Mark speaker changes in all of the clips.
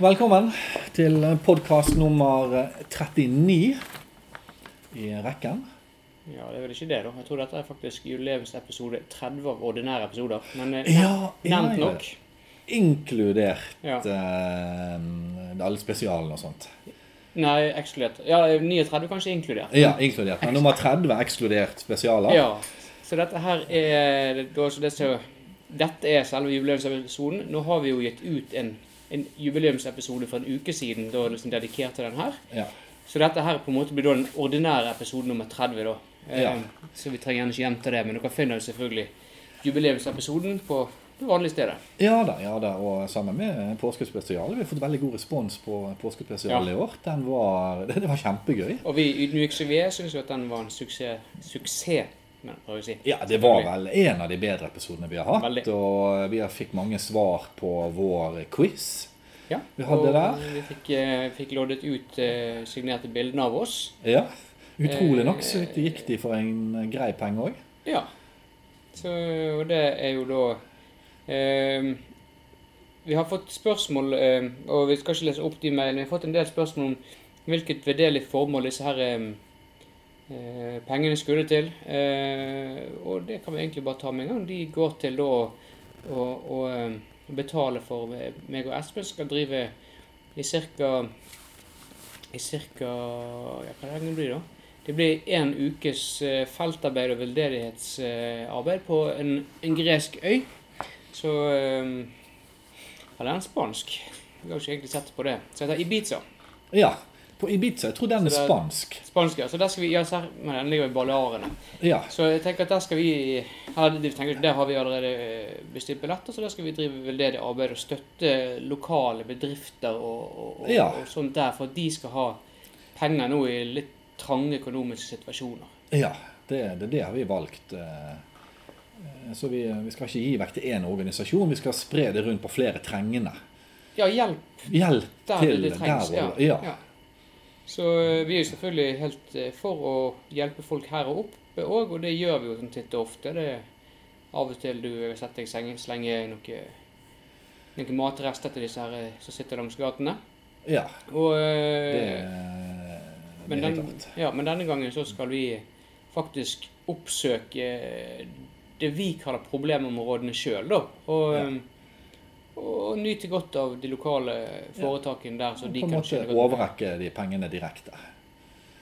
Speaker 1: Velkommen til podkast nummer 39 i rekken.
Speaker 2: Ja, det er vel ikke det, da. Jeg tror dette er faktisk jubileumsepisode 30 av ordinære episoder. Men eh,
Speaker 1: Ja, ja,
Speaker 2: nevnt
Speaker 1: ja.
Speaker 2: nok.
Speaker 1: Inkludert
Speaker 2: Ja.
Speaker 1: eh, alle spesialene og sånt.
Speaker 2: Nei, ekskludert. Ja, 39 kanskje inkludert.
Speaker 1: Ja, inkludert. Men nummer 30 er ekskludert spesialer.
Speaker 2: Ja. Så dette her er da, så det, så, Dette er selve jubileumsepisoden. Nå har vi jo gitt ut en, en jubileumsepisode for en uke siden da liksom dedikert til den her.
Speaker 1: Ja.
Speaker 2: Så dette her på en måte blir da den ordinære episoden nummer 30, da. Eh,
Speaker 1: Ja.
Speaker 2: Så vi trenger gjerne ikke gjenta det, men dere finner jo selvfølgelig jubileumsepisoden på det vanlige stedet.
Speaker 1: Ja da, ja da. Og sammen med påskespesialet. Vi har fått veldig god respons på påskespesialet i
Speaker 2: Ja.
Speaker 1: år. Den var, det, det var kjempegøy.
Speaker 2: Og vi ydmyke som vi er, syns jo at den var en suksess. suksess men prøver å si.
Speaker 1: Ja, det var vel en av de bedre episodene vi har hatt.
Speaker 2: Veldig.
Speaker 1: Og vi har- fikk mange svar på vår quiz.
Speaker 2: Ja,
Speaker 1: Vi hadde
Speaker 2: og
Speaker 1: der.
Speaker 2: Vi fikk, eh, fikk loddet ut eh, signerte bildene av oss.
Speaker 1: Ja. Utrolig
Speaker 2: Eh,
Speaker 1: nok så gikk de for en grei penge òg.
Speaker 2: Ja. Så og det er jo da eh, Vi har fått spørsmål, eh, og vi skal ikke lese opp de mailene. Vi har fått en del spørsmål om hvilket vedelig formål disse her eh, eh, pengene skulle til. Eh, og det kan vi egentlig bare ta med en gang. De går til da å- å å, eh, betale for meg og Espen skal drive i ca. I ca. Ja, hva lenge blir det da? Det blir en ukes eh, feltarbeid og veldedighetsarbeid på en, en gresk øy. Så eh, Eller en spansk. Jeg har ikke egentlig sett på det. Så heter Ibiza.
Speaker 1: Ja. På Ibiza. Jeg tror den er
Speaker 2: Så det-
Speaker 1: spansk.
Speaker 2: Spansk, ja. Så der skal vi, ja, ser, men den ligger i Balearene.
Speaker 1: Ja.
Speaker 2: Så jeg tenker at der skal vi her, jeg tenker, Der har vi allerede eh, bestilt billetter, så der skal vi drive veldedig arbeid og støtte lokale bedrifter og, og, og,
Speaker 1: Ja.
Speaker 2: og sånt der, for at de skal ha penger nå i litt trange økonomiske situasjoner.
Speaker 1: ja. Det, det, det har vi valgt. eh, eh, Så vi, vi skal ikke gi vekk til én organisasjon, vi skal spre det rundt på flere trengende.
Speaker 2: Ja, hjelp
Speaker 1: Hjelp
Speaker 2: der
Speaker 1: til
Speaker 2: det trengs.
Speaker 1: der og
Speaker 2: ja.
Speaker 1: ja.
Speaker 2: Ja. Så eh, vi er jo selvfølgelig helt eh, for å hjelpe folk her og oppe òg, og det gjør vi jo sånn titt og ofte. Det er av og til du setter deg i sengen, slenger noe, noen matrester til disse her eh, som sitter langs gatene.
Speaker 1: ja.
Speaker 2: Og,
Speaker 1: Det,
Speaker 2: eh,
Speaker 1: det
Speaker 2: men,
Speaker 1: er helt
Speaker 2: den,
Speaker 1: klart.
Speaker 2: ja, men denne gangen så skal vi faktisk oppsøke eh, det vi kaller problemområdene sjøl, da. Og,
Speaker 1: Ja.
Speaker 2: eh, og nyte godt av de lokale foretakene der. Så
Speaker 1: På
Speaker 2: de
Speaker 1: en
Speaker 2: kan
Speaker 1: måte
Speaker 2: tjene godt.
Speaker 1: overrekke de pengene direkte.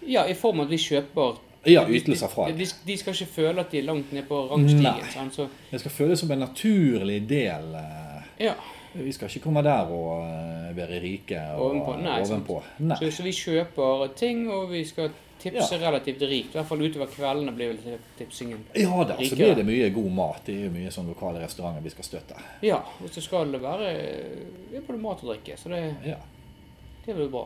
Speaker 2: Ja, i form av at vi kjøper
Speaker 1: Ja, ytelser fra
Speaker 2: de,
Speaker 1: dem.
Speaker 2: de, de skal ikke føle at de er langt ned på rangstigen.
Speaker 1: Nei.
Speaker 2: Sant? Så,
Speaker 1: Det skal føles som en naturlig del. eh,
Speaker 2: ja.
Speaker 1: Vi skal ikke komme der og eh, være rike og
Speaker 2: Ovenpå, nei, sant.
Speaker 1: ovenpå. Nei.
Speaker 2: så, så vi kjøper ting, og vi skal tipse relativt rikt. I hvert fall utover kveldene blir vel tipsingen.
Speaker 1: Ja da, så
Speaker 2: Rike,
Speaker 1: blir
Speaker 2: ja.
Speaker 1: det mye god mat. Det er jo mye sånn lokale restauranter vi skal støtte.
Speaker 2: Ja, og så skal det være det er både mat og drikke, så det,
Speaker 1: Ja,
Speaker 2: det blir bra.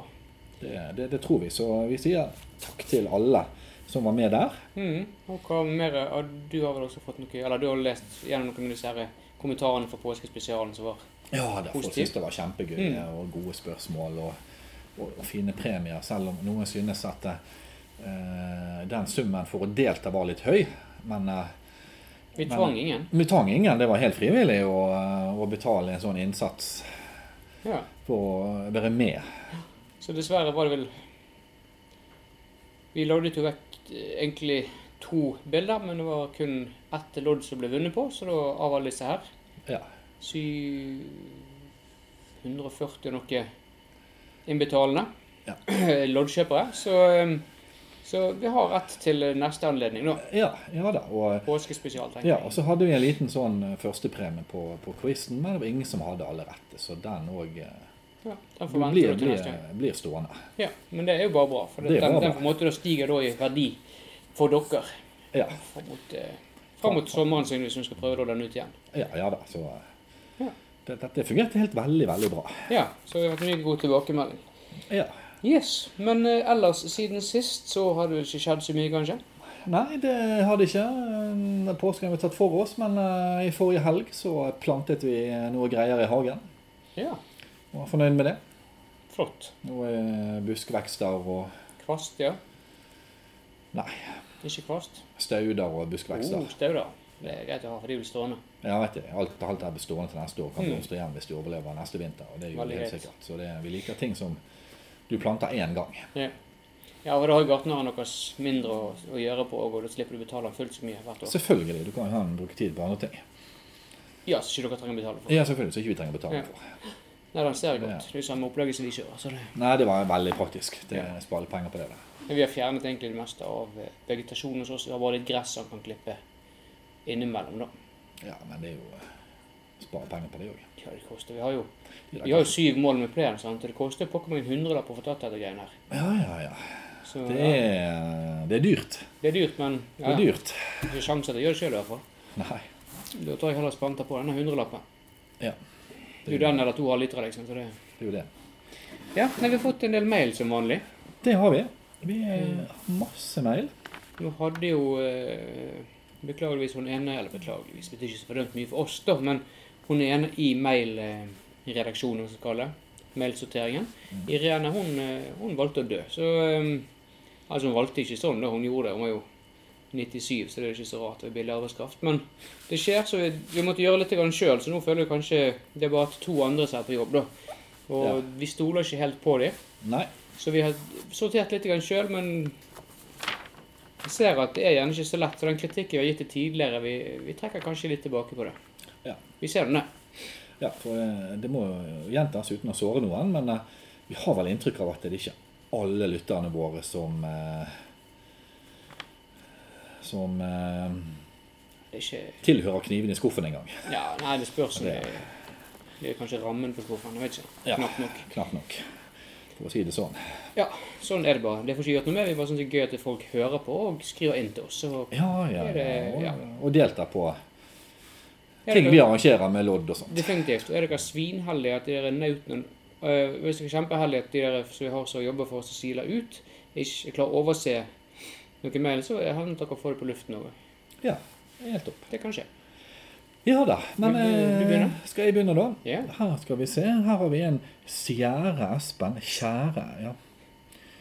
Speaker 1: det, det, det tror vi. Så vi sier takk til alle som var med der.
Speaker 2: Mhm. Og hva mer ja, Du har vel også fått noe Eller du har lest gjennom noen av disse her kommentarene fra påskespesialen som var
Speaker 1: Ja, da, folk
Speaker 2: Positivt.
Speaker 1: syntes det var kjempegøy
Speaker 2: Mm.
Speaker 1: og gode spørsmål og, og, og fine premier. Selv om noen synes at eh, den summen for å delta var litt høy. Men eh,
Speaker 2: Vi
Speaker 1: Men-
Speaker 2: tvang ingen.
Speaker 1: vi tvang ingen. Det var helt frivillig å, å betale en sånn innsats
Speaker 2: Ja.
Speaker 1: for å være med.
Speaker 2: Så dessverre var det vel Vi loddet jo vekk eh, egentlig to bilder, men det var kun ett lodd som ble vunnet på, så da av alle disse her
Speaker 1: Ja.
Speaker 2: 740 og noe innbetalende
Speaker 1: Ja.
Speaker 2: loddkjøpere. Så, eh, så vi har ett til neste anledning, da.
Speaker 1: Ja, ja da. Og
Speaker 2: Påskespesial, tenker
Speaker 1: Ja, og så hadde vi en liten sånn førstepremie på, på quizen, men det var ingen som hadde alle rette, så den òg
Speaker 2: Ja, den får vente
Speaker 1: blir,
Speaker 2: da til
Speaker 1: blir,
Speaker 2: neste gang.
Speaker 1: blir stående.
Speaker 2: Ja, men det er jo bare bra, for
Speaker 1: Det er
Speaker 2: den,
Speaker 1: bare
Speaker 2: den
Speaker 1: bra.
Speaker 2: på en måte da stiger da i verdi for dere.
Speaker 1: Ja,
Speaker 2: Fram mot, eh, fram mot sommeren, sannsynligvis, når vi skal prøve å lodde den ut igjen.
Speaker 1: ja, ja da, så
Speaker 2: Ja.
Speaker 1: det, Dette fungerte helt veldig, veldig bra.
Speaker 2: Ja, så vi har hatt mye god tilbakemelding.
Speaker 1: Ja.
Speaker 2: Yes, Men eh, ellers, siden sist så har det vel ikke skjedd så mye, kanskje?
Speaker 1: Nei, det hadde ikke eh, påsken vi tatt for oss, men eh, i forrige helg så plantet vi noe greier i hagen.
Speaker 2: Ja,
Speaker 1: Og er fornøyd med det.
Speaker 2: flott.
Speaker 1: Noe eh, buskvekster og
Speaker 2: Kvast, ja.
Speaker 1: Nei.
Speaker 2: Ikke kvast.
Speaker 1: stauder og buskvekster.
Speaker 2: Oh, stauder. Det er greit å ha, for de blir stående.
Speaker 1: Ja, vet du, alt, alt her blir stående til neste år. Kan
Speaker 2: Mm.
Speaker 1: blomstre igjen hvis du overlever neste vinter. og det er jo
Speaker 2: Veldig
Speaker 1: helt
Speaker 2: greit.
Speaker 1: sikkert. Så det, vi liker ting som du planter én gang.
Speaker 2: Ja. Ja, og da har gartneren noe mindre å, å gjøre på, og da slipper du betale han fullt så mye hvert år.
Speaker 1: Selvfølgelig. Du kan jo ha den bruke tid på andre ting.
Speaker 2: Ja, så ikke dere trenger å betale for.
Speaker 1: Ja, selvfølgelig, så ikke vi trenger å betale
Speaker 2: Ja.
Speaker 1: for.
Speaker 2: Nei, den ser jeg
Speaker 1: Ja.
Speaker 2: godt. Det er jo samme opplegget som vi kjører. Så det.
Speaker 1: Nei, det var veldig praktisk. Det
Speaker 2: Ja.
Speaker 1: sparer penger på det. der.
Speaker 2: Men vi har fjernet egentlig det meste av eh, vegetasjonen hos oss. Vi har bare litt gress han kan klippe innimellom, da.
Speaker 1: Ja, men det er jo eh, Sparer penger på det òg.
Speaker 2: Ja, det koster. Vi har jo, vi har jo syv mål med plenen, sant. og Det koster jo pokker meg en hundrelapp å få tatt dette greiene her.
Speaker 1: Ja, ja, ja.
Speaker 2: Så
Speaker 1: Det
Speaker 2: ja,
Speaker 1: er, det er dyrt.
Speaker 2: det er dyrt, men
Speaker 1: Det er
Speaker 2: ja, ja.
Speaker 1: dyrt.
Speaker 2: det er ikke sjanse til å gjøre det sjøl i hvert fall.
Speaker 1: Nei.
Speaker 2: Da tar jeg heller spanter på denne hundrelappen.
Speaker 1: Ja.
Speaker 2: Det er jo den eller to halvlitere, liksom. Så det
Speaker 1: Det er jo det.
Speaker 2: Ja, nei, vi har fått en del mail som vanlig.
Speaker 1: Det har vi. Vi har
Speaker 2: Mm.
Speaker 1: masse mail.
Speaker 2: Nå hadde jo eh, Beklageligvis hun ene Eller beklageligvis, det betyr ikke så fordømt mye for oss, da. Men hun ene i eh, mailredaksjonen, som vi skal kalle det. Mailsorteringen.
Speaker 1: Mm.
Speaker 2: Irene, hun, eh, hun valgte å dø. Så eh, Altså, hun valgte ikke sånn da hun gjorde det. Hun var jo 97, så det er ikke så rart det er billig arbeidskraft. Men det skjer, så vi, vi måtte gjøre litt sjøl. Så nå føler vi kanskje det er bare at to andre som er på jobb, da. Og
Speaker 1: Ja.
Speaker 2: vi stoler ikke helt på dem.
Speaker 1: Nei.
Speaker 2: Så vi har sortert litt sjøl, men jeg ser at det er gjerne ikke så lett. Så den kritikken vi har gitt det tidligere, vi, vi trekker kanskje litt tilbake på det.
Speaker 1: Ja.
Speaker 2: Vi ser den, det.
Speaker 1: Ja, for eh, det må jo gjentas uten å såre noen, men eh, vi har vel inntrykk av at det er ikke alle lytterne våre som eh, som eh,
Speaker 2: det er ikke,
Speaker 1: tilhører kniven i skuffen en gang.
Speaker 2: ja, nei, det spørs om det,
Speaker 1: Det-
Speaker 2: det er kanskje rammen på skuffen. Jeg vet ikke.
Speaker 1: Ja.
Speaker 2: Knapt nok.
Speaker 1: Knapt nok, for å si det sånn.
Speaker 2: Ja, sånn er det bare. Det får ikke gjort noe med. Vi bare synes det er gøy at folk hører på og skriver inn til oss. Så
Speaker 1: Ja, ja,
Speaker 2: Er
Speaker 1: ja.
Speaker 2: det- ja.
Speaker 1: Og, og delta på
Speaker 2: er
Speaker 1: ting
Speaker 2: dere-
Speaker 1: vi arrangerer med lodd og sånn. sånt.
Speaker 2: Definitivt. Og er dere svinheldige at de der nautene øh, Hvis dere er kjempeheldige at de der som vi har som jobber for oss og siler ut, ikke klarer å overse noe mer, så er det hender at dere får det på luften òg.
Speaker 1: Ja, helt topp.
Speaker 2: Det kan skje.
Speaker 1: Ja da, men
Speaker 2: Vil du- du
Speaker 1: eh,
Speaker 2: begynne?
Speaker 1: skal jeg begynne da?
Speaker 2: Ja.
Speaker 1: Her skal vi se. Her har vi en Sierre Espen. Kjære. Ja.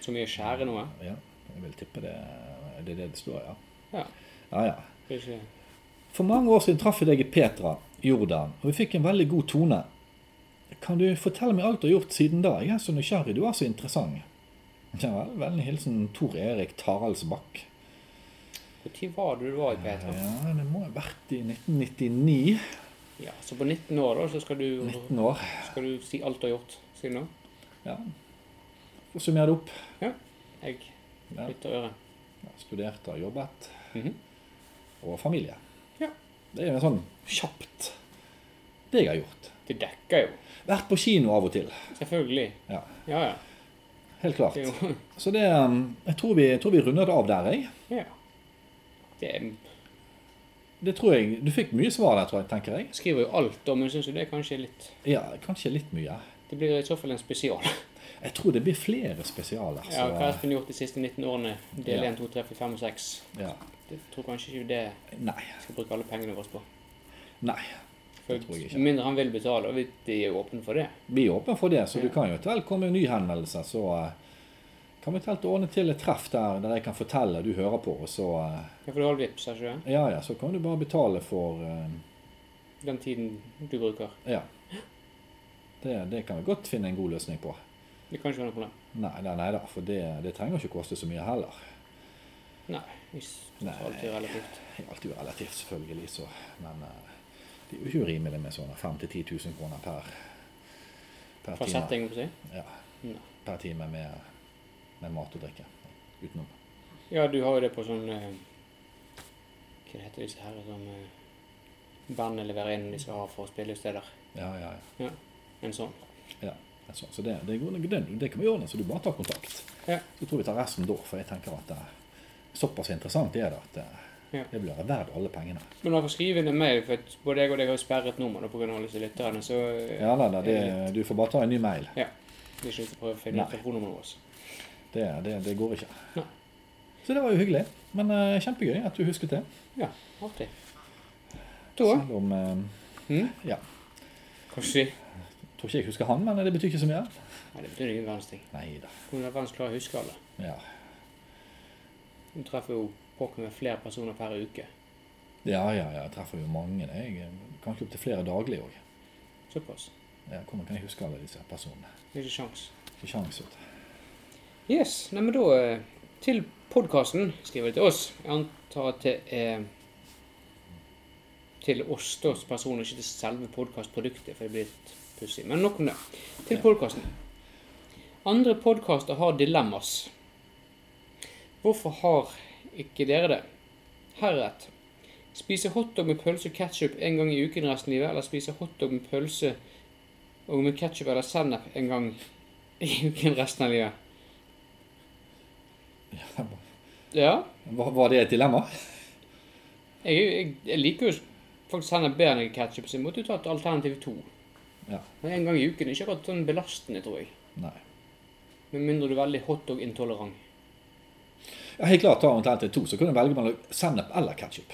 Speaker 2: Så mye skjære nå, eh.
Speaker 1: ja, jeg vil tippe det det er det det står, ja.
Speaker 2: ja.
Speaker 1: Ja, ja.
Speaker 2: Det er ikke...
Speaker 1: For mange år siden traff jeg deg i Petra, Jordan, og vi fikk en veldig god tone. Kan du fortelle meg alt du har gjort siden da? Jeg er så nysgjerrig, du er så interessant. Ja vel, vennlig hilsen Tor Erik Taraldsbakk.
Speaker 2: Når var det du var i Petra?
Speaker 1: Ja, det må ha vært i 1999.
Speaker 2: Ja, så på 19 år da, så skal du,
Speaker 1: 19 år.
Speaker 2: skal du si alt du har gjort siden da?
Speaker 1: Ja. Og summer det opp.
Speaker 2: Jeg
Speaker 1: Ja.
Speaker 2: lytter øret.
Speaker 1: Ja, Studert og jobbet.
Speaker 2: Mhm.
Speaker 1: Og familie.
Speaker 2: Ja.
Speaker 1: Det er jo en sånn kjapt det jeg har gjort.
Speaker 2: Det dekker jo.
Speaker 1: Vært på kino av og til.
Speaker 2: Selvfølgelig.
Speaker 1: Ja.
Speaker 2: Ja, ja.
Speaker 1: Helt klart.
Speaker 2: Det er jo...
Speaker 1: Så det um, Jeg tror vi, jeg tror vi runder det av der, jeg.
Speaker 2: Ja. Det er...
Speaker 1: Det tror jeg, Du fikk mye svar der, tror jeg, tenker jeg.
Speaker 2: Skriver jo alt, da, men jeg syns jo det er kanskje litt
Speaker 1: Ja, kanskje litt mye.
Speaker 2: Det blir i så fall en spesial.
Speaker 1: Jeg tror det blir flere spesialer.
Speaker 2: Ja, hva har
Speaker 1: Så,
Speaker 2: Espen gjort de siste 19 årene? Del
Speaker 1: Ja.
Speaker 2: 1, 2, 3, 4, 5 og 6.
Speaker 1: ja.
Speaker 2: Jeg tror kanskje ikke det
Speaker 1: Nei.
Speaker 2: jeg skal bruke alle pengene våre på.
Speaker 1: Nei.
Speaker 2: For
Speaker 1: Det tror jeg ikke.
Speaker 2: Med mindre han vil betale, og vi de er jo åpne for det.
Speaker 1: Vi er åpne for det, så du
Speaker 2: Ja.
Speaker 1: kan jo eventuelt komme med en ny henvendelse. Så uh, kan vi eventuelt ordne til et treff der, der jeg kan fortelle, du hører på, og så uh,
Speaker 2: Ja, for du har vips, har ikke du?
Speaker 1: Ja ja, så kan du bare betale for uh,
Speaker 2: det? Den tiden du bruker.
Speaker 1: Ja. Det, det kan vi godt finne en god løsning på.
Speaker 2: Det kan ikke være noe problem.
Speaker 1: Nei, nei, nei da, for det, det trenger ikke koste så mye heller.
Speaker 2: Nei. vi s-
Speaker 1: Nei.
Speaker 2: tar Alltid relativt.
Speaker 1: Det er Alt er jo relativt, selvfølgelig, så Men eh, det er jo ikke urimelig med sånne 5 000-10 000 kroner per, per,
Speaker 2: Fra
Speaker 1: time,
Speaker 2: setting, Mm. må jeg
Speaker 1: ja,
Speaker 2: si. Nei.
Speaker 1: per time med, med mat og drikke utenom.
Speaker 2: Ja, du har jo det på sånn eh, Hva heter disse her som eh, bandet leverer inn de skal ha for spillesteder?
Speaker 1: Ja, ja, ja.
Speaker 2: En sånn.
Speaker 1: Det er sånn. Så det, det, går nok- det, det kan vi ordne, så du bare tar kontakt.
Speaker 2: Ja.
Speaker 1: Så tror vi tar resten da, for jeg tenker at eh, såpass interessant er det at eh,
Speaker 2: Ja.
Speaker 1: det blir verdt alle pengene.
Speaker 2: Men når jeg skriver inn en mail, for at både jeg og deg har jo sperret nummer da, på grunn av alle disse lytterne, så eh,
Speaker 1: Ja da, da, det, du får bare ta en ny mail.
Speaker 2: det er ikke vits å prøve å finne
Speaker 1: Nei.
Speaker 2: ut telefonnummeret vårt.
Speaker 1: Det, det, det går ikke.
Speaker 2: Nei.
Speaker 1: Så det var jo hyggelig. Men eh, kjempegøy at du husket det.
Speaker 2: Ja, artig. Da
Speaker 1: Selv om eh,
Speaker 2: hm?
Speaker 1: Ja.
Speaker 2: Kanskje
Speaker 1: Tror ikke jeg husker han, men det betyr ikke så mye.
Speaker 2: Nei, det betyr ingen verdens ting.
Speaker 1: Nei da.
Speaker 2: Hvordan i verden klarer jeg å huske alle?
Speaker 1: Ja.
Speaker 2: Hun treffer jo pokker med flere personer per uke.
Speaker 1: Ja, ja, ja. Jeg treffer jo mange. Jeg, eh, kanskje opptil flere daglig òg.
Speaker 2: Såpass.
Speaker 1: Hvordan kan jeg huske alle disse personene?
Speaker 2: Det er ikke sjans.
Speaker 1: Ikke sjans, vet du.
Speaker 2: Yes, nei, men da eh, til podkasten, skriver de til oss. Jeg antar at det er til oss da, som personer, ikke til selve podkastproduktet, for det blir litt pussig. Men nok om det. Til
Speaker 1: Ja.
Speaker 2: podkasten. Andre podkaster har dilemmas. Hvorfor har ikke dere det? Her er et. Spise hotdog med pølse og ketsjup en gang i uken resten av livet, eller spise hotdog med pølse og med ketsjup eller sennep en gang i uken resten av livet?
Speaker 1: Ja,
Speaker 2: Ja.
Speaker 1: var, var det et dilemma?
Speaker 2: Jeg, jeg, jeg liker jo faktisk sennep bedre enn ketsjup, så jeg måtte jo tatt alternativ to.
Speaker 1: Ja.
Speaker 2: Men en gang i uken er ikke akkurat sånn belastende, tror jeg.
Speaker 1: Nei.
Speaker 2: Med mindre du er veldig hotdog-intolerant.
Speaker 1: Ja, helt klart tar hun til til to, så kunne du velge mellom sennep eller ketsjup.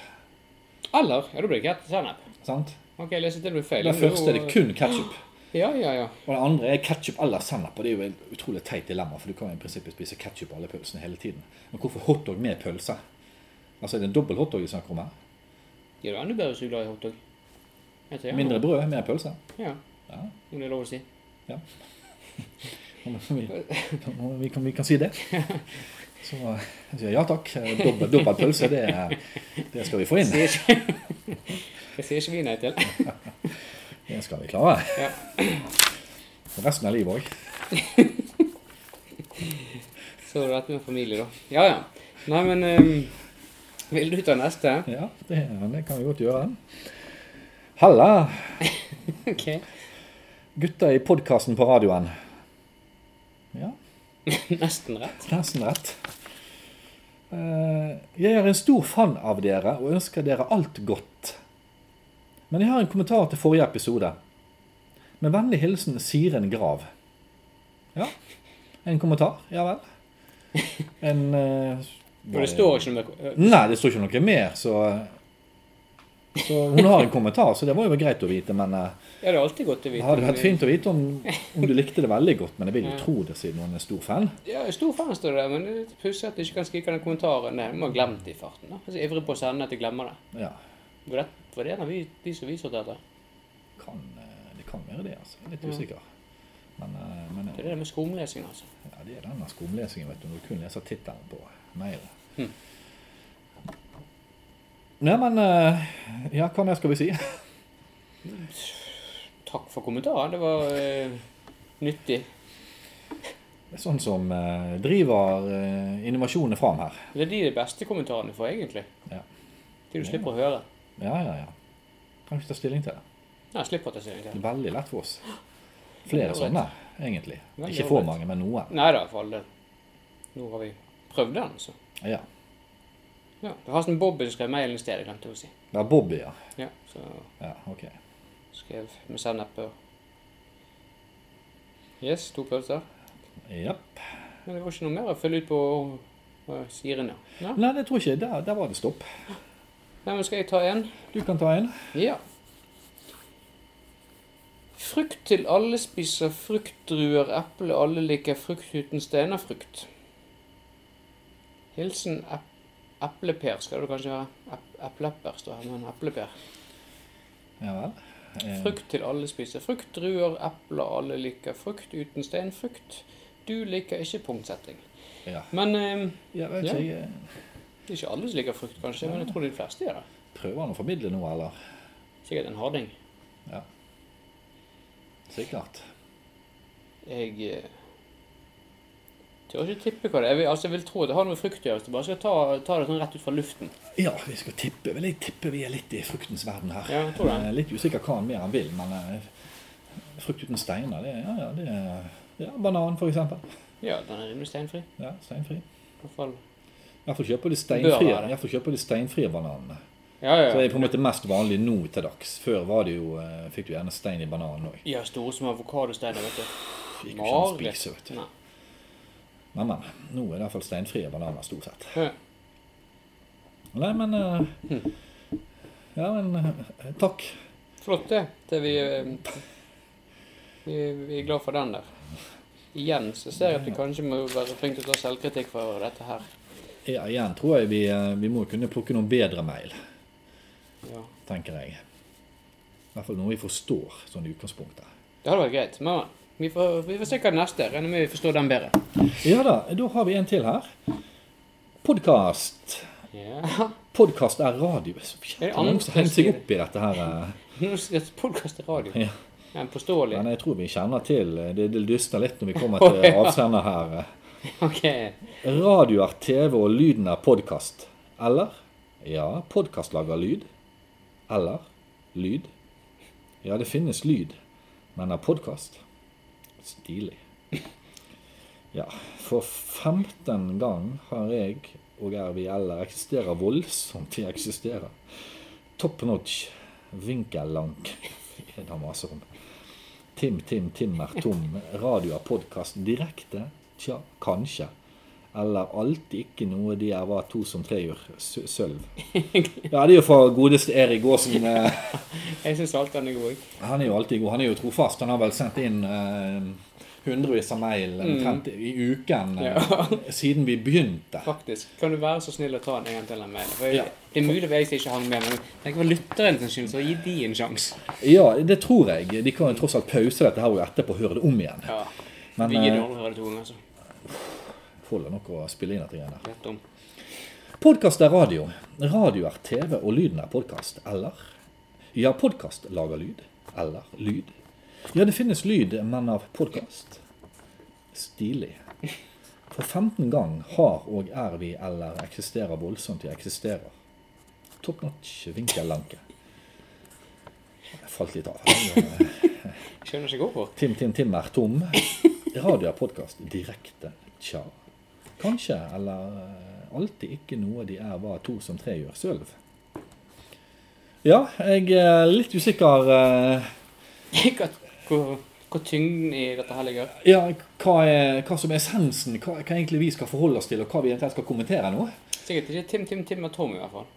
Speaker 2: Eller ja, da blir det ket- sennep.
Speaker 1: Sant?
Speaker 2: OK, jeg leser til det blir feil.
Speaker 1: Den
Speaker 2: Men
Speaker 1: første er
Speaker 2: jo-
Speaker 1: det kun ketsjup.
Speaker 2: Ja, ja, ja.
Speaker 1: Og den andre er ketsjup eller sennep. Og det er jo et utrolig teit dilemma, for du kan jo i prinsippet spise ketsjup på alle pølsene hele tiden. Men hvorfor hotdog med pølse? Altså er det en dobbel hotdog vi snakker om her?
Speaker 2: De er jo enda bedre hvis du er glad i hotdog. Jeg tror, ja.
Speaker 1: Mindre brød, mer pølse?
Speaker 2: Ja.
Speaker 1: Ja.
Speaker 2: Om det er lov å si.
Speaker 1: Om Vi, om vi, kan, vi kan si det. Så jeg sier ja takk. Dobbel, dobbel pølse, det, det skal vi få inn.
Speaker 2: Sier ikke Det sier ikke vi nei til.
Speaker 1: Det skal vi klare.
Speaker 2: Ja.
Speaker 1: For resten av livet òg.
Speaker 2: Så er det dette med familie, da. Ja, ja. Nei, men ehm, Vil du ta neste?
Speaker 1: Ja, det, det kan vi godt gjøre. Halla,
Speaker 2: OK.
Speaker 1: gutta i podkasten på radioen. Ja,
Speaker 2: Nesten rett.
Speaker 1: nesten rett. Eh, Jeg er en stor fan av dere og ønsker dere alt godt. Men jeg har en kommentar til forrige episode. Med vennlig hilsen Siren Grav. Ja, en kommentar. Ja vel. En eh,
Speaker 2: Og det står ikke noe med
Speaker 1: Nei, det står ikke noe mer, så Så hun har en kommentar, så det var jo greit å vite, men eh,
Speaker 2: Ja, det er alltid godt å vite.
Speaker 1: det hadde vært
Speaker 2: men-
Speaker 1: fint å vite om, om du likte det veldig godt, men jeg vil jo
Speaker 2: Ja.
Speaker 1: tro det siden hun er stor fan.
Speaker 2: Ja, jeg er stor fan står det der, men det er litt pussig at du ikke kan skrike den kommentaren. Nei, du må ha glemt det i farten. da. Altså, Jeg er så ivrig på å sende at jeg glemmer det.
Speaker 1: Ja,
Speaker 2: Var det, var det en av vi, de som vi sorterte?
Speaker 1: kan, eh, det kan være det, altså. Jeg er litt usikker. Men, eh, men
Speaker 2: Det er det med skumlesing, altså.
Speaker 1: ja, det er denne skumlesingen, vet du, når du kun leser tittelen på mailen.
Speaker 2: Hm.
Speaker 1: Nei, men eh, Ja, hva mer skal vi si?
Speaker 2: Takk for kommentaren. Det var eh, nyttig.
Speaker 1: Sånn som eh, driver eh, innovasjonene fram her.
Speaker 2: Det er de de beste kommentarene får, egentlig.
Speaker 1: Ja.
Speaker 2: De du slipper å høre.
Speaker 1: Ja, ja, ja. Kan ikke ta stilling til det.
Speaker 2: Nei, slipper å ta stilling
Speaker 1: Det
Speaker 2: til.
Speaker 1: er veldig lett for oss. Flere
Speaker 2: Veldig
Speaker 1: sånne, egentlig.
Speaker 2: Veldig
Speaker 1: Ikke for
Speaker 2: ålreit.
Speaker 1: mange, men noen.
Speaker 2: Nei da, for all del. Nå har vi prøvd den, altså.
Speaker 1: Ja.
Speaker 2: Ja. Det var sånn Bobby som skrev mailen i stedet, glemte jeg å si.
Speaker 1: Det er Bobby, ja.
Speaker 2: Ja, så
Speaker 1: ja ok.
Speaker 2: skrev med sennep og Yes, to pølser.
Speaker 1: Japp.
Speaker 2: Men det var ikke noe mer å følge ut på øh, Siren, ja. ja.
Speaker 1: Nei, det tror jeg ikke. Der, der var det stopp.
Speaker 2: Nei, men skal jeg ta en?
Speaker 1: Du kan ta en.
Speaker 2: Ja. Frukt til alle spiser fruktdruer, eple, alle liker frukt uten steinerfrukt. Hilsen ep epleper, skal det kanskje være. Ep epleper står her, men epleper.
Speaker 1: Ja vel. Eh,
Speaker 2: Frukt til alle spiser frukt, druer, epler, alle liker frukt uten steinfrukt. Du liker ikke punktsetting.
Speaker 1: Ja.
Speaker 2: Men øh,
Speaker 1: Jeg vet
Speaker 2: Ja.
Speaker 1: ikke, jeg eh,
Speaker 2: det er ikke alle som liker frukt, kanskje, men jeg tror de fleste gjør det.
Speaker 1: prøver han å formidle noe, eller?
Speaker 2: Sikkert en harding.
Speaker 1: Sikkert.
Speaker 2: Jeg eh, tør ikke tippe hva det er. Jeg vil, altså, jeg vil tro at det har noe med frukt å gjøre. hvis du Bare skal ta, ta det sånn rett ut fra luften.
Speaker 1: Ja, vi skal tippe. Vel, jeg tipper vi er litt i fruktens verden her.
Speaker 2: Ja, jeg tror det.
Speaker 1: Eh, Litt usikker hva han mer han vil, men eh, frukt uten steiner, det er ja, ja, det er, ja, banan, for eksempel.
Speaker 2: Ja, den er rimelig steinfri.
Speaker 1: Ja, steinfri.
Speaker 2: I hvert fall.
Speaker 1: Iallfall kjøper de
Speaker 2: Bør
Speaker 1: steinfrie,
Speaker 2: være det.
Speaker 1: i hvert fall kjøper de steinfrie bananene.
Speaker 2: Ja,
Speaker 1: Så
Speaker 2: ja,
Speaker 1: det er
Speaker 2: ja.
Speaker 1: på en måte mest vanlig nå til dags. Før var det jo, eh, fikk du gjerne stein i bananen òg.
Speaker 2: Ja, store som avokadosteiner, vet du.
Speaker 1: Gikk jo ikke an å
Speaker 2: Mareritt.
Speaker 1: spise, vet du.
Speaker 2: Nei.
Speaker 1: Men, men. Nå er det iallfall steinfrie bananer stort sett.
Speaker 2: Ja.
Speaker 1: Nei, men eh,
Speaker 2: Hm.
Speaker 1: Ja, men eh, takk.
Speaker 2: Flott, det. det vi, eh, vi, vi er glad for den der. Igjen så ser jeg at vi kanskje må være flinke til å ta selvkritikk for dette her.
Speaker 1: Ja, igjen tror jeg vi, eh, vi må kunne plukke noen bedre mail.
Speaker 2: Ja.
Speaker 1: tenker jeg. I hvert fall noe vi forstår sånn i utgangspunktet.
Speaker 2: Det hadde vært greit. Men vi får, vi får se hva det neste er. Regner med vi forstår den bedre.
Speaker 1: Ja da, da har vi en til her. Podkast.
Speaker 2: Ja.
Speaker 1: Podkast er radio. Så
Speaker 2: Er
Speaker 1: jævlig
Speaker 2: det
Speaker 1: mange som
Speaker 2: andre
Speaker 1: henger seg
Speaker 2: sier det?
Speaker 1: opp i dette her. eh.
Speaker 2: Nå skal jeg podkast til radio.
Speaker 1: Ja.
Speaker 2: Ja, en påståelig.
Speaker 1: Men jeg tror vi kjenner til eh, Det, det lysner litt når vi kommer
Speaker 2: Å,
Speaker 1: til
Speaker 2: ja.
Speaker 1: avsender her. eh.
Speaker 2: Ok.
Speaker 1: Radio er TV, og lyden er podkast. Eller? Ja, podkast lager lyd. Eller? Lyd. Ja, det finnes lyd, men er podkast? Stilig. Ja, for 15 gang har jeg og er vi eller eksisterer voldsomt vi eksisterer. Top notch. Vinkellank. Er det maser om. Tim, Tim, Tim er tom. Radio er podkast direkte? Tja, kanskje. Eller alltid ikke noe de her var to som tre gjør. Sø- Sølv. Ja, det er jo fra godeste Erik Aasen. eh,
Speaker 2: Jeg syns alt den er god. jeg.
Speaker 1: Han er jo alltid god. Han er jo trofast. Han har vel sendt inn eh, hundrevis av mail omtrent i uken eh, siden vi begynte.
Speaker 2: Faktisk. Kan du være så snill å ta den en gang til? den mailen? For jeg,
Speaker 1: Ja.
Speaker 2: Det er mulig at jeg ikke hang med, men tenk for lytteren sin skyld, så gi de en sjanse.
Speaker 1: Ja, det tror jeg. De kan jo tross alt pause dette her og etterpå høre det om igjen.
Speaker 2: Ja.
Speaker 1: Men,
Speaker 2: vi gidder
Speaker 1: eh,
Speaker 2: aldri å høre det to ganger, altså.
Speaker 1: Holder nok å spille inn dette greiene der.
Speaker 2: Rett om.
Speaker 1: Podkast er radio. Radio er TV, og lyden er podkast. Eller? Ja, podkast lager lyd. Eller lyd. Ja, det finnes lyd, men av podkast. Stilig. For 15 gang har og er vi eller eksisterer voldsomt vi eksisterer. Top notch vinkellanke. Jeg falt litt av.
Speaker 2: Skjønner ikke hvorfor.
Speaker 1: Tim Tim Tim er tom. Radio er podkast direkte. Tja. Kanskje, eller eh, alltid ikke noe de er hva to som tre gjør sølv. Ja, jeg er litt usikker eh,
Speaker 2: Ikke at hvor, hvor tyngden i dette her ligger.
Speaker 1: ja, hva, er, hva som er essensen, hva, hva egentlig vi skal forholde oss til, og hva vi eventuelt skal kommentere nå.
Speaker 2: Sikkert ikke Tim Tim Tim og Tom, i hvert fall.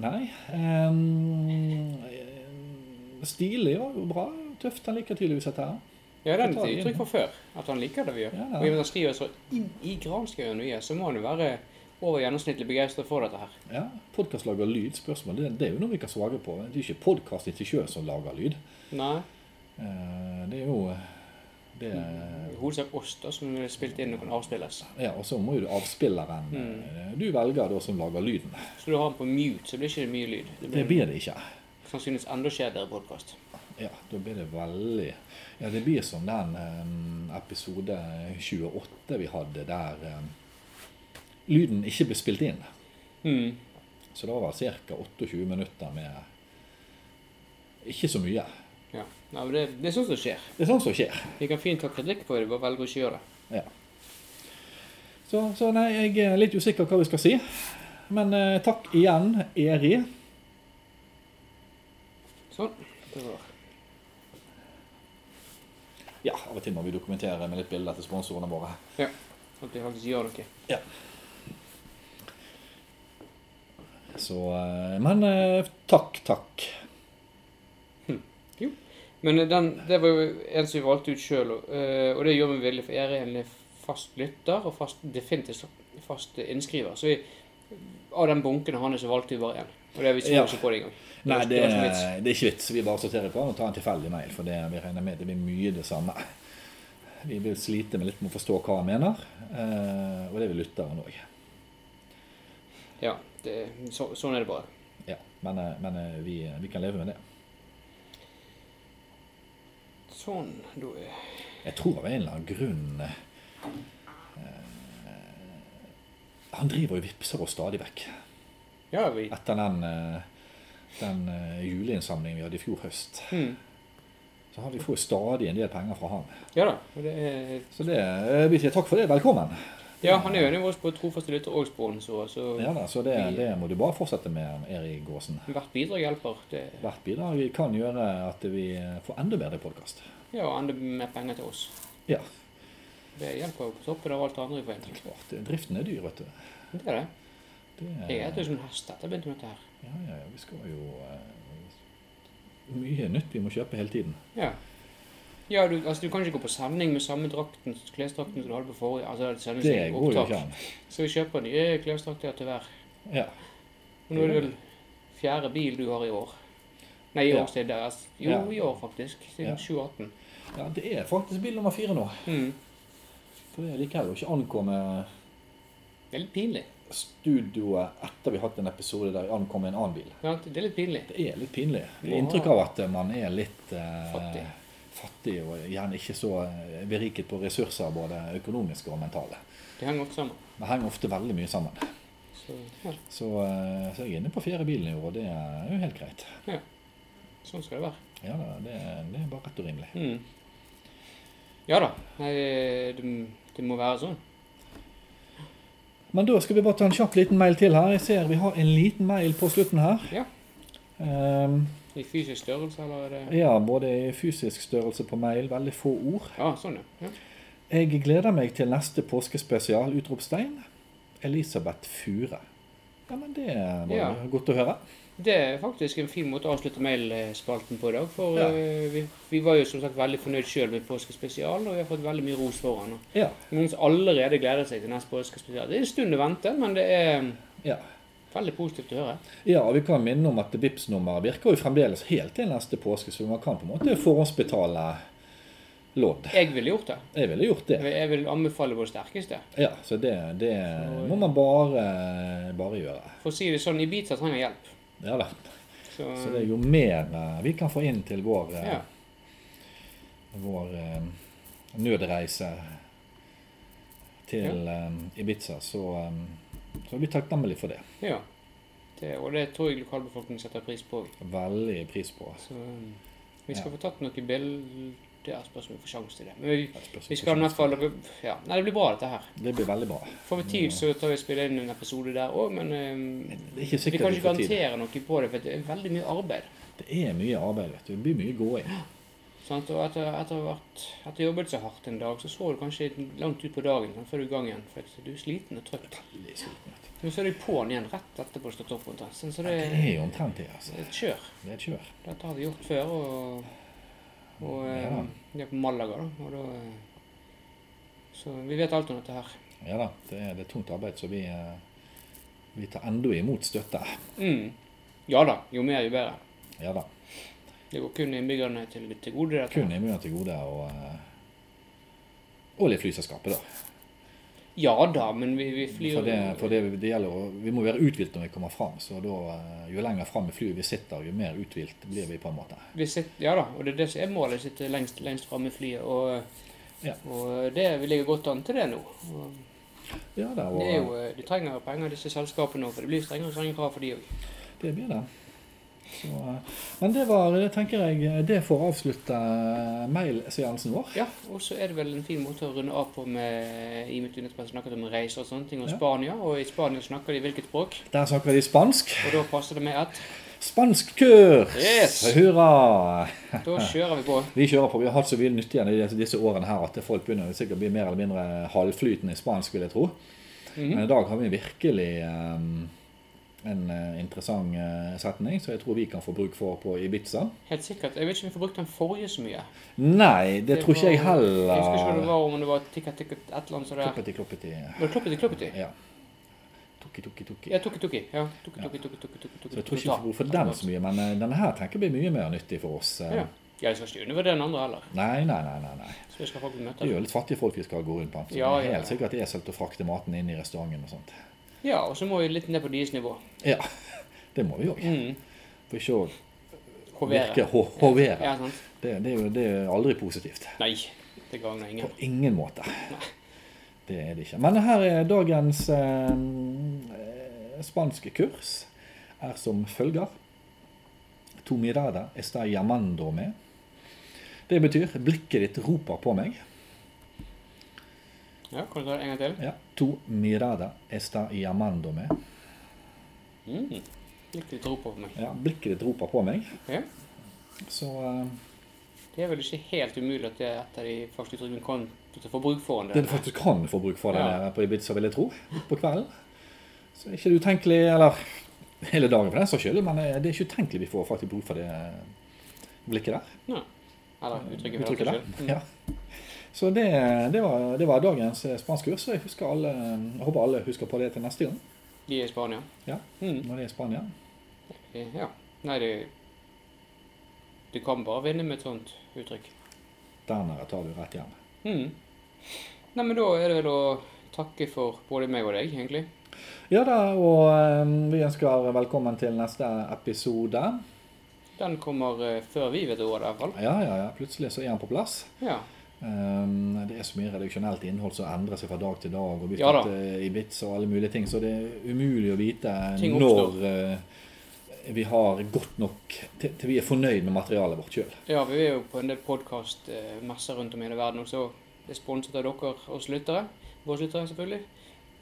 Speaker 1: Nei. ehm, stilig og bra. Tøft. Han liker tydeligvis dette her.
Speaker 2: Ja,
Speaker 1: Ta det
Speaker 2: den er et
Speaker 1: inn,
Speaker 2: uttrykk
Speaker 1: ja.
Speaker 2: for før. At han liker det vi gjør.
Speaker 1: Ja, ja.
Speaker 2: Og i og med at han skriver så inn i granskauen vi gjør, så må han jo være over gjennomsnittlig begeistret for dette her.
Speaker 1: Ja, Podkast lager lyd, spørsmål. Det, det er jo noe vi kan svare på. Det er jo ikke podkast i seg sjøl som lager lyd.
Speaker 2: Nei.
Speaker 1: Eh, Det er jo det er-
Speaker 2: Hovedsak oss, da, som er spilt inn og kan avspilles.
Speaker 1: Ja, og så må jo du avspilleren
Speaker 2: Mm.
Speaker 1: eh, Du velger da som lager lyden.
Speaker 2: Skulle du ha den på mute, så blir det ikke mye lyd. Det
Speaker 1: Det
Speaker 2: blir
Speaker 1: blir det ikke.
Speaker 2: sannsynligvis enda kjedeligere podkast.
Speaker 1: Ja, da blir det veldig Ja, det blir som den eh, episode 28 vi hadde, der eh, lyden ikke ble spilt inn.
Speaker 2: Mm.
Speaker 1: Så det var vel ca. 28 minutter med ikke så mye.
Speaker 2: Ja. Nei, men det, det er sånt som skjer.
Speaker 1: Det er sånt som skjer.
Speaker 2: Vi kan fint ta kritikk på det, bare velger å ikke gjøre det.
Speaker 1: Ja. Så, så nei, jeg er litt usikker hva vi skal si. Men eh, takk igjen, Eri.
Speaker 2: Sånn. Det var.
Speaker 1: Ja, av og til må vi dokumentere med litt bilder til sponsorene våre.
Speaker 2: Ja. At vi faktisk gjør noe.
Speaker 1: Så, eh, men eh, takk, takk.
Speaker 2: Men eh, den, det var jo en som vi valgte ut sjøl, og, eh, og det gjør vi veldig, for jeg er en fast lytter og fast, definitivt fast innskriver. Så vi, av den bunken av han er så valgte vi bare én. Og det vi så
Speaker 1: Ja.
Speaker 2: ikke på det engang. Det
Speaker 1: Nei,
Speaker 2: var-
Speaker 1: det,
Speaker 2: det var ikke vits.
Speaker 1: det er ikke vits. Vi bare sorterer på den og tar en tilfeldig mail, for det, vi regner med det blir mye det samme. Vi vil slite med litt med å forstå hva han mener, eh, og det vil lytteren òg.
Speaker 2: Ja, det, så, sånn er det bare.
Speaker 1: Ja, men eh, men eh, vi, vi kan leve med det.
Speaker 2: Sånn, da er
Speaker 1: Jeg tror av en eller annen grunn eh, Han driver og vippser oss stadig vekk.
Speaker 2: Ja, vi
Speaker 1: Etter den, eh, den eh, juleinnsamlingen vi hadde i fjor høst,
Speaker 2: mm.
Speaker 1: så har vi får stadig en del penger fra han.
Speaker 2: Ja da. og Det er,
Speaker 1: Så det, eh, vi sier takk for det. Velkommen.
Speaker 2: ja, han er jo enig med oss på trofaste lytter og sponsorer, så
Speaker 1: Ja, da, så det, det må du bare fortsette med, Erik Gåsen.
Speaker 2: hvert bidrag hjelper. Det,
Speaker 1: Hvert bidrag vi kan gjøre at vi får enda bedre podkast.
Speaker 2: ja, og enda mer penger til oss.
Speaker 1: Ja.
Speaker 2: Det hjelper jo på toppen av alt det andre vi får inn.
Speaker 1: Klart, driften er dyr, vet du.
Speaker 2: Det er det.
Speaker 1: Det,
Speaker 2: Jeg er jo som en hest etter jeg begynte med dette her.
Speaker 1: ja, ja, ja, vi skal jo eh, Mye nytt vi må kjøpe hele tiden.
Speaker 2: Ja. Ja, du, altså, du kan ikke gå på sending med samme drakten, klesdrakten som du hadde på forrige. Altså, det er et
Speaker 1: Det
Speaker 2: sendingsopptak.
Speaker 1: går jo ikke an.
Speaker 2: Så vi kjøper nye klesdrakter til hver.
Speaker 1: Ja.
Speaker 2: Og nå er det vel fjerde bil du har i år. Nei, i
Speaker 1: Ja.
Speaker 2: år siden deres. altså, Jo,
Speaker 1: Ja.
Speaker 2: i år faktisk. Siden
Speaker 1: Ja.
Speaker 2: 2018.
Speaker 1: Ja, det er faktisk bil nummer fire nå.
Speaker 2: Mm.
Speaker 1: For det liker jo ikke å ankomme
Speaker 2: Det er litt pinlig.
Speaker 1: studioet etter vi har hatt en episode der vi ankom en annen bil.
Speaker 2: Sant? Det er litt pinlig.
Speaker 1: Det er litt pinlig. Jeg
Speaker 2: Ja.
Speaker 1: har inntrykk av at man er litt eh,
Speaker 2: Fattig.
Speaker 1: fattig og gjerne ikke så eh, beriket på ressurser, både økonomiske og mentale.
Speaker 2: Det henger ofte sammen.
Speaker 1: Det henger ofte veldig mye sammen.
Speaker 2: Så, ja,
Speaker 1: Så, eh, så jeg er inne på fjerde bilen i år, og det er jo helt greit.
Speaker 2: sånn skal det være.
Speaker 1: Ja, da, det, det er bare rett og rimelig.
Speaker 2: Mm. Ja da. Nei, det, det må være sånn.
Speaker 1: Men da skal vi bare ta en kjapp liten mail til her. Jeg ser vi har en liten mail på slutten her.
Speaker 2: Ja.
Speaker 1: Ehm,
Speaker 2: I fysisk størrelse, eller er det
Speaker 1: ja, både i fysisk størrelse på mail, veldig få ord.
Speaker 2: Ja, sånn, ja. ja.
Speaker 1: Jeg gleder meg til neste påskespesial, utropstegn. Elisabeth Fure. Ja, men det var jo
Speaker 2: Ja.
Speaker 1: godt å høre.
Speaker 2: Det er faktisk en fin måte å avslutte mailspalten på i dag. For
Speaker 1: Ja.
Speaker 2: eh, vi, vi var jo som sagt veldig fornøyd sjøl med påskespesialen, og vi har fått veldig mye ros for den. og
Speaker 1: Ja.
Speaker 2: Noen som allerede gleder seg til neste påskespesial. Det er en stund å vente, men det er mm,
Speaker 1: Ja.
Speaker 2: veldig positivt å høre.
Speaker 1: ja, og vi kan minne om at vips nummeret virker jo fremdeles helt til neste påske, så man kan på en måte forhåndsbetale lodd.
Speaker 2: Jeg ville gjort det.
Speaker 1: Jeg ville gjort det.
Speaker 2: Jeg vil anbefale vår sterkeste.
Speaker 1: Ja, så det, det
Speaker 2: Så-
Speaker 1: må man bare, bare gjøre.
Speaker 2: For å si det sånn, Ibiza trenger hjelp.
Speaker 1: Ja da.
Speaker 2: Så,
Speaker 1: Så det er jo mer eh, vi kan få inn til vår, eh,
Speaker 2: ja.
Speaker 1: vår eh, nødreise til eh, Ibiza, så, eh, så er vi takknemlige for det.
Speaker 2: ja. Det, og det tror jeg lokalbefolkningen setter pris på.
Speaker 1: Veldig pris på.
Speaker 2: Så um, vi skal
Speaker 1: Ja.
Speaker 2: få tatt noen bilder, spørs om vi får sjanse til det. Men vi,
Speaker 1: Jeg spørs-
Speaker 2: vi skal i hvert fall ja. Nei, det blir bra, dette her.
Speaker 1: Det blir veldig bra.
Speaker 2: Får vi tid, så tar vi og spiller inn en episode der òg, men um,
Speaker 1: Det er ikke
Speaker 2: vi
Speaker 1: sikkert
Speaker 2: kan
Speaker 1: vi
Speaker 2: ikke
Speaker 1: får tid.
Speaker 2: garantere noe på det, for det er veldig mye arbeid.
Speaker 1: Det er mye arbeid, vet du. Det blir mye gåing.
Speaker 2: Sant? Og etter, etter, hvert, etter å ha jobbet så hardt en dag, så så du kanskje langt ut på dagen sant, før du er i gang igjen. For du er sliten og trøtt.
Speaker 1: Veldig sliten, vet du.
Speaker 2: Men så er du på'n igjen rett etterpå å stått opp omtrent. sant, Så
Speaker 1: Det
Speaker 2: det
Speaker 1: er jo omtrent det, altså.
Speaker 2: det er et kjør.
Speaker 1: Det er et kjør.
Speaker 2: Dette har vi gjort før, og, og eh,
Speaker 1: Ja.
Speaker 2: vi er på Malaga, da. Og da eh, så vi vet alt om dette her.
Speaker 1: Ja da, det er, det er tungt arbeid, så vi, eh, vi tar enda imot støtte.
Speaker 2: Mm. Ja da, jo mer, jo bedre.
Speaker 1: Ja da.
Speaker 2: Det går kun innbyggerne til, til gode, dette.
Speaker 1: Kun innbyggerne til gode og, eh, og litt flyselskapet, da.
Speaker 2: Ja da, men vi, vi flyr
Speaker 1: For, det, for det, det gjelder å, Vi må være uthvilt når vi kommer fram. Så da, eh, jo lenger fram i flyet vi sitter, jo mer uthvilt blir vi. på en måte.
Speaker 2: vi sitter, Ja da, og det er det som er målet. Sitte lengst, lengst framme i flyet. Og,
Speaker 1: Ja.
Speaker 2: og eh, det, vi ligger godt an til det nå. Og
Speaker 1: Ja, da, og,
Speaker 2: det er jo, eh, de trenger jo penger, disse selskapene òg, for det blir strengere og strengere krav for de òg.
Speaker 1: eh, Det blir det. Så, eh, men det var, det tenker jeg, eh, det får avslutte eh, mailseansen vår.
Speaker 2: Ja, og så er det vel en fin måte å runde av på med i mitt undertrekk snakket om reiser og sånne ting, og
Speaker 1: Ja.
Speaker 2: Spania. Og i Spania snakker de hvilket språk,
Speaker 1: Der snakker de spansk.
Speaker 2: og da passer det med at
Speaker 1: Spanskkurs!
Speaker 2: Yes!
Speaker 1: Hurra!
Speaker 2: da kjører vi på.
Speaker 1: Vi kjører på. Vi har hatt så mye nyttig igjen i disse- disse årene her at folk begynner sikkert å bli mer eller mindre halvflytende i spansk, vil jeg tro.
Speaker 2: Mhm.
Speaker 1: Men i dag har vi virkelig ehm, en eh, interessant eh, setning som jeg tror vi kan få bruk for på Ibiza.
Speaker 2: Helt sikkert. Jeg vet ikke om vi får brukt den forrige så mye.
Speaker 1: Nei, det,
Speaker 2: Det
Speaker 1: tror ikke jeg
Speaker 2: var- Jeg husker ikke hva det
Speaker 1: heller.
Speaker 2: var, om det var tikka tikka et eller annet sånt der.
Speaker 1: Kloppeti, kloppeti.
Speaker 2: Var det kloppeti kloppeti?
Speaker 1: Ja. Tukki, tukki, tukki.
Speaker 2: Ja, tukki tukki. Ja, tukki tukki tukki tukki tukki
Speaker 1: Så jeg tror ikke vi får bruk for den så mye, men eh, denne her tenker jeg blir mye mer nyttig for oss. eh.
Speaker 2: Ja. Ja, jeg skal ikke undervurdere den andre heller.
Speaker 1: Nei, nei, nei, nei, nei.
Speaker 2: Så jeg skal faktisk møte
Speaker 1: Det er
Speaker 2: den.
Speaker 1: jo litt fattige folk vi skal gå rundt blant. så
Speaker 2: Ja,
Speaker 1: det
Speaker 2: ja,
Speaker 1: er
Speaker 2: ja.
Speaker 1: helt sikkert eselt å frakte maten inn i restauranten og sånt.
Speaker 2: Ja, og så må vi litt ned på deres nivå.
Speaker 1: Ja, det må vi òg.
Speaker 2: Mm.
Speaker 1: For ikke å virke
Speaker 2: Hovere.
Speaker 1: ho- hovere.
Speaker 2: Ja, sant.
Speaker 1: Det, det, er jo- det er aldri positivt.
Speaker 2: Nei, det gagner
Speaker 1: På
Speaker 2: ingen.
Speaker 1: ingen måte. Det er det ikke. Men her er dagens eh, spanske kurs er som følger. Tu mirada está llamando me. Det betyr 'blikket ditt roper på meg'.
Speaker 2: Ja, kan du ta det en gang til?
Speaker 1: Ja. Tu mirada está llamando me.
Speaker 2: Mm. Litt litt rop over meg.
Speaker 1: Ja, blikket ditt roper på meg.
Speaker 2: Ja.
Speaker 1: Så eh,
Speaker 2: Det er vel ikke helt umulig at det er et av de faktisk driver en kan til å få bruk for
Speaker 1: det du
Speaker 2: den.
Speaker 1: faktisk kan få bruk for det
Speaker 2: Ja.
Speaker 1: der på Ibiza, vil jeg tro, på kvelden. Så er ikke det utenkelig, eller hele dagen for den saks skyld, men eh, det er ikke utenkelig vi får faktisk bruk for det eh, blikket der.
Speaker 2: Ja. Eller uttrykket. for
Speaker 1: Uttrykket
Speaker 2: den
Speaker 1: der.
Speaker 2: saks skyld. Mm.
Speaker 1: Ja. Så det, det, var, det var dagens eh, spanskkurs. og Jeg, husker alle, jeg håper alle husker på det til neste gang
Speaker 2: De er i Spania.
Speaker 1: Ja.
Speaker 2: Mm.
Speaker 1: når det er i Spania.
Speaker 2: Eh, Ja. Nei, det Du kan bare vinne med et sånt uttrykk.
Speaker 1: Dernere tar du rett hjem.
Speaker 2: Mm. Nei, men da er det vel å takke for både meg og deg, egentlig.
Speaker 1: Ja da, og eh, vi ønsker velkommen til neste episode.
Speaker 2: Den kommer eh, før vi vet ordet, i hvert fall.
Speaker 1: Ja, ja, ja. Plutselig så er han på plass.
Speaker 2: Ja.
Speaker 1: Um, det er så mye redaksjonelt innhold som endrer seg fra dag til dag, og blir
Speaker 2: Ja da.
Speaker 1: tatt eh, i bits og alle mulige ting, så det er umulig å vite
Speaker 2: Ting
Speaker 1: når eh, vi har godt nok til, til vi er fornøyd med materialet vårt sjøl.
Speaker 2: ja, vi er jo på en del podkast-messer rundt om i hele verden også. Det er sponset av dere, oss lyttere. Våre lyttere, selvfølgelig.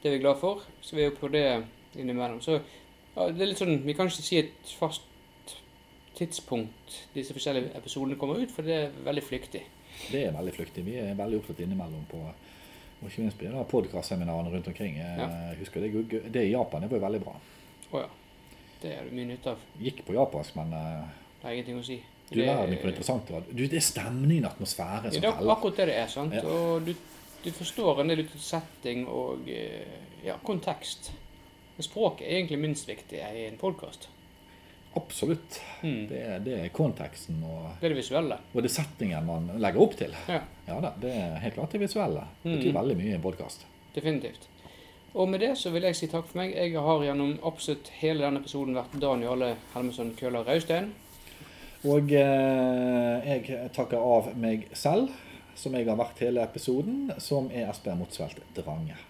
Speaker 2: Det er vi glad for. Så vi er jo på det innimellom. Så ja, det er litt sånn Vi kan ikke si et fast tidspunkt disse forskjellige episodene kommer ut, for det er veldig flyktig.
Speaker 1: Det er veldig flyktig. Vi er veldig opptatt innimellom på og ikke minst på de der podkastseminarene rundt omkring. Jeg husker det, gu- det i Japan det var jo veldig bra.
Speaker 2: Å ja. Det er det mye nytte av.
Speaker 1: Gikk på japansk, men eh,
Speaker 2: Det er ingenting å si.
Speaker 1: du verden hvor interessant det var. Du, det er stemningen, atmosfæren
Speaker 2: Ja,
Speaker 1: som
Speaker 2: det er
Speaker 1: teller.
Speaker 2: akkurat det det er. sant?
Speaker 1: Ja.
Speaker 2: Og du, du forstår en del ut av setting og eh, ja, kontekst. Men Språket er egentlig minst viktig i en podkast.
Speaker 1: Absolutt.
Speaker 2: Mm. Det
Speaker 1: Det er, det er konteksten og
Speaker 2: er det visuelle.
Speaker 1: Og det er settingen man legger opp til.
Speaker 2: Ja.
Speaker 1: da, det er helt klart det visuelle. Det betyr
Speaker 2: Mhm.
Speaker 1: veldig mye i en podkast.
Speaker 2: Definitivt. Og med det så vil jeg si takk for meg. Jeg har gjennom absolutt hele denne episoden vært Daniel Helmesson Køhler Raustein.
Speaker 1: Og eh, jeg takker av meg selv, som jeg har vært hele episoden, som er Espen Motsvelt Drange.